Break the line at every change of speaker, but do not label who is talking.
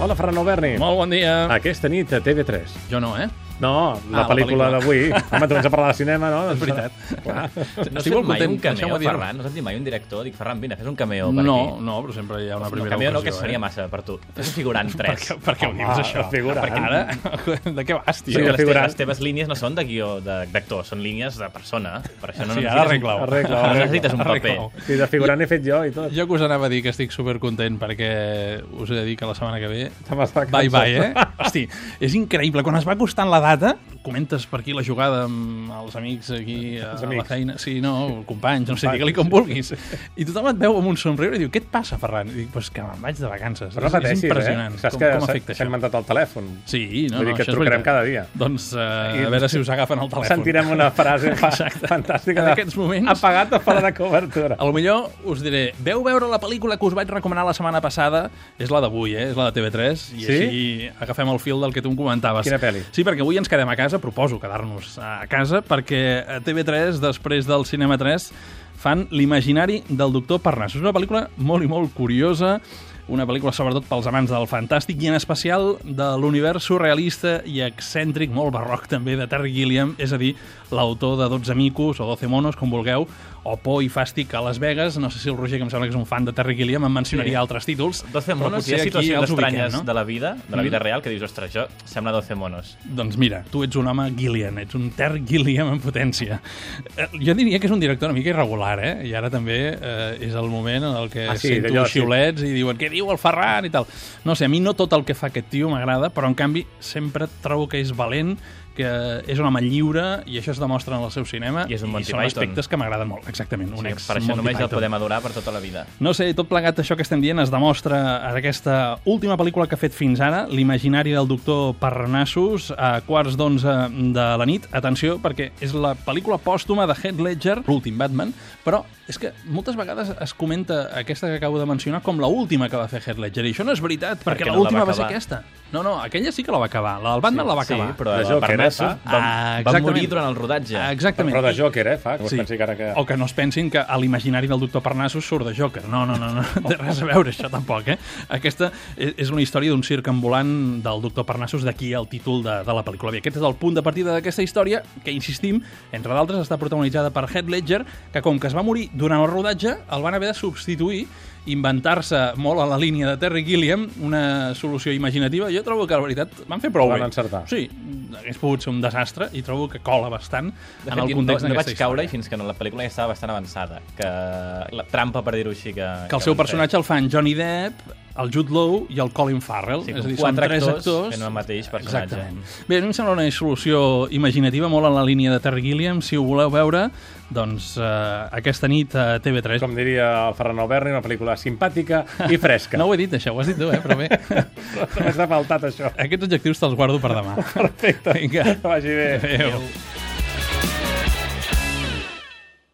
Hola, Ferran Alberni.
Molt bon dia.
Aquesta nit a TV3.
Jo no, eh?
No, la
Ah, la
pel·lícula
pel·lícula.
d'avui. Home, tu vens a parlar de cinema, no? Doncs,
És veritat.
Clar.
No has
Estic
fet
molt
mai
content,
un cameo,
deixeu-me dir-ho.
Ferran? No has dit mai un director? Dic, Ferran, vine, fes un cameo per
No,
aquí.
no, però sempre hi ha una
no
primera
cameo no, que
ocasió,
seria
eh?
massa per tu. Fes un figurant 3.
Per, per què ho
Home,
dius, això?
figurant.
Perquè Ara, de què vas, tio?
Sí,
Perquè les, teves,
figurant.
les teves línies no són de guió de- d'actor, són línies de persona. Per això no
Sí,
necessites
ara
un-
arregla-ho.
Arregla-ho,
No
arregla-ho.
necessites un paper.
Arregla-ho.
Sí, de figurant he fet jo i tot.
Jo que us anava a dir que estic supercontent perquè us he de dir que la setmana que ve...
Se m'està
Bye,
cansant.
bye, eh? Hosti, és increïble. Quan es va costant la data, comentes per aquí la jugada amb els amics aquí a,
Els
a la
amics.
feina. Sí, no, companys, no sé, digue-li com vulguis. I tothom et veu amb un somriure i diu, què et passa, Ferran? I dic, pues que me'n vaig de vacances.
Però
És, és
repeteixis,
impressionant
eh? Saps
com,
que
com
s'ha-
afecta
s'ha
això.
inventat el telèfon.
Sí, no,
Vull dir que
no,
et
això és
trucarem
veritat.
cada dia.
Doncs uh,
I-
a veure si us agafen el telèfon.
Sentirem una frase fa fantàstica.
En
de-
aquests moments-
Apagat o fora de cobertura.
A lo millor us diré, veu veure la pel·lícula que us vaig recomanar la setmana passada? És la d'avui, eh? És la de TV3.
Sí?
I així agafem el fil del que tu em comentaves.
Quina pel·li?
Sí, perquè avui ens quedem a casa, proposo quedar-nos a casa, perquè a TV3, després del Cinema 3, fan l'imaginari del doctor Parnassus. És una pel·lícula molt i molt curiosa, una pel·lícula sobretot pels amants del fantàstic i en especial de l'univers surrealista i excèntric, molt barroc també, de Terry Gilliam, és a dir, l'autor de 12 micos o 12 monos, com vulgueu, o Por i Fàstic a Las Vegas. No sé si el Roger, que em sembla que és un fan de Terry Gilliam, em mencionaria
Sí.
sí. altres títols.
Doce
però
monos,
sé,
hi ha
aquí
situacions
els ubiquem,
estranyes
no?
de la vida, de la vida
Mm.
real, que dius, ostres, això sembla 12 monos.
Doncs mira, tu ets un home Gillian, ets un Ter Gilliam en potència. Eh, Jo diria que és un director una mica irregular, eh? I ara també eh, és el moment en el que
Ah,
ah,
sí,
sí, sento
d'allò, sí.
xiulets sí. i diuen què diu el Ferran i tal. No sé, a mi no tot el que fa aquest tio m'agrada, però en canvi sempre trobo que és valent, que és un home lliure i això es demostra en el seu cinema
I és un Monty
són
Python.
aspectes que m'agraden molt, exactament.
O
Un
sigui,
ex
per això
Monty
només el
Python.
podem adorar per tota la vida.
No sé, tot plegat això que estem dient es demostra en aquesta última pel·lícula que ha fet fins ara, l'imaginari del doctor Parnassus, a quarts d'onze de la nit. Atenció, perquè és la pel·lícula pòstuma de Heath Ledger, l'últim Batman, però és que moltes vegades es comenta aquesta que acabo de mencionar com la última que va fer Heath Ledger, i això no és veritat, perquè,
Perquè
perquè
no la
l'última
va
no va, ser
acabar.
aquesta. No, no, aquella sí que la va acabar, la del Batman
Sí,
la va acabar.
Sí, però
De
el
Joker,
Parnassus
eh, fa?
va,
Ah,
va
exactament.
morir durant el rodatge.
Exactament.
Però de
I-
Joker, eh, fa? Que sí. pensi que ara que...
o que no es pensin que a l'imaginari del doctor Parnassus surt de Joker. No, no, no, no. Té res a veure això tampoc, eh? Aquesta e, és és una història d'un circ ambulant del doctor Parnassus, d'aquí el títol de, de la pel·lícula. I aquest és el punt de partida d'aquesta història, que insistim, entre d'altres, està protagonitzada per Heath Ledger, que com que es va morir durant el rodatge, el van haver de substituir inventar-se molt a la línia de Terry Gilliam una solució imaginativa. Jo trobo que, la veritat, van fer prou
Van
bé.
encertar.
Sí, hagués pogut ser un desastre i trobo que cola bastant
De
en
fet,
el context
no, no vaig
d'aquesta
caure
història.
i fins que no, la pel·lícula ja estava bastant avançada. Que la trampa, per dir-ho així, que...
que el seu
van fer.
personatge el fan Johnny Depp, el Jude Law i el Colin Farrell.
Sí,
és
com
a dir, són
quatre
tres
actors
actors,
fent el mateix personatge.
Exactament. Bé, a mi em sembla una solució imaginativa, molt en la línia de Terry Gilliam. Si ho voleu veure, doncs eh, aquesta nit a TV3.
Com diria el Ferran Alberni, una pel·lícula simpàtica i fresca.
No ho he dit, això, ho has dit tu, eh? Però bé,
Només t'ha faltat això.
aquests adjectius te'ls guardo per demà.
Perfecte.
Vinga.
Que vagi bé.
Adéu.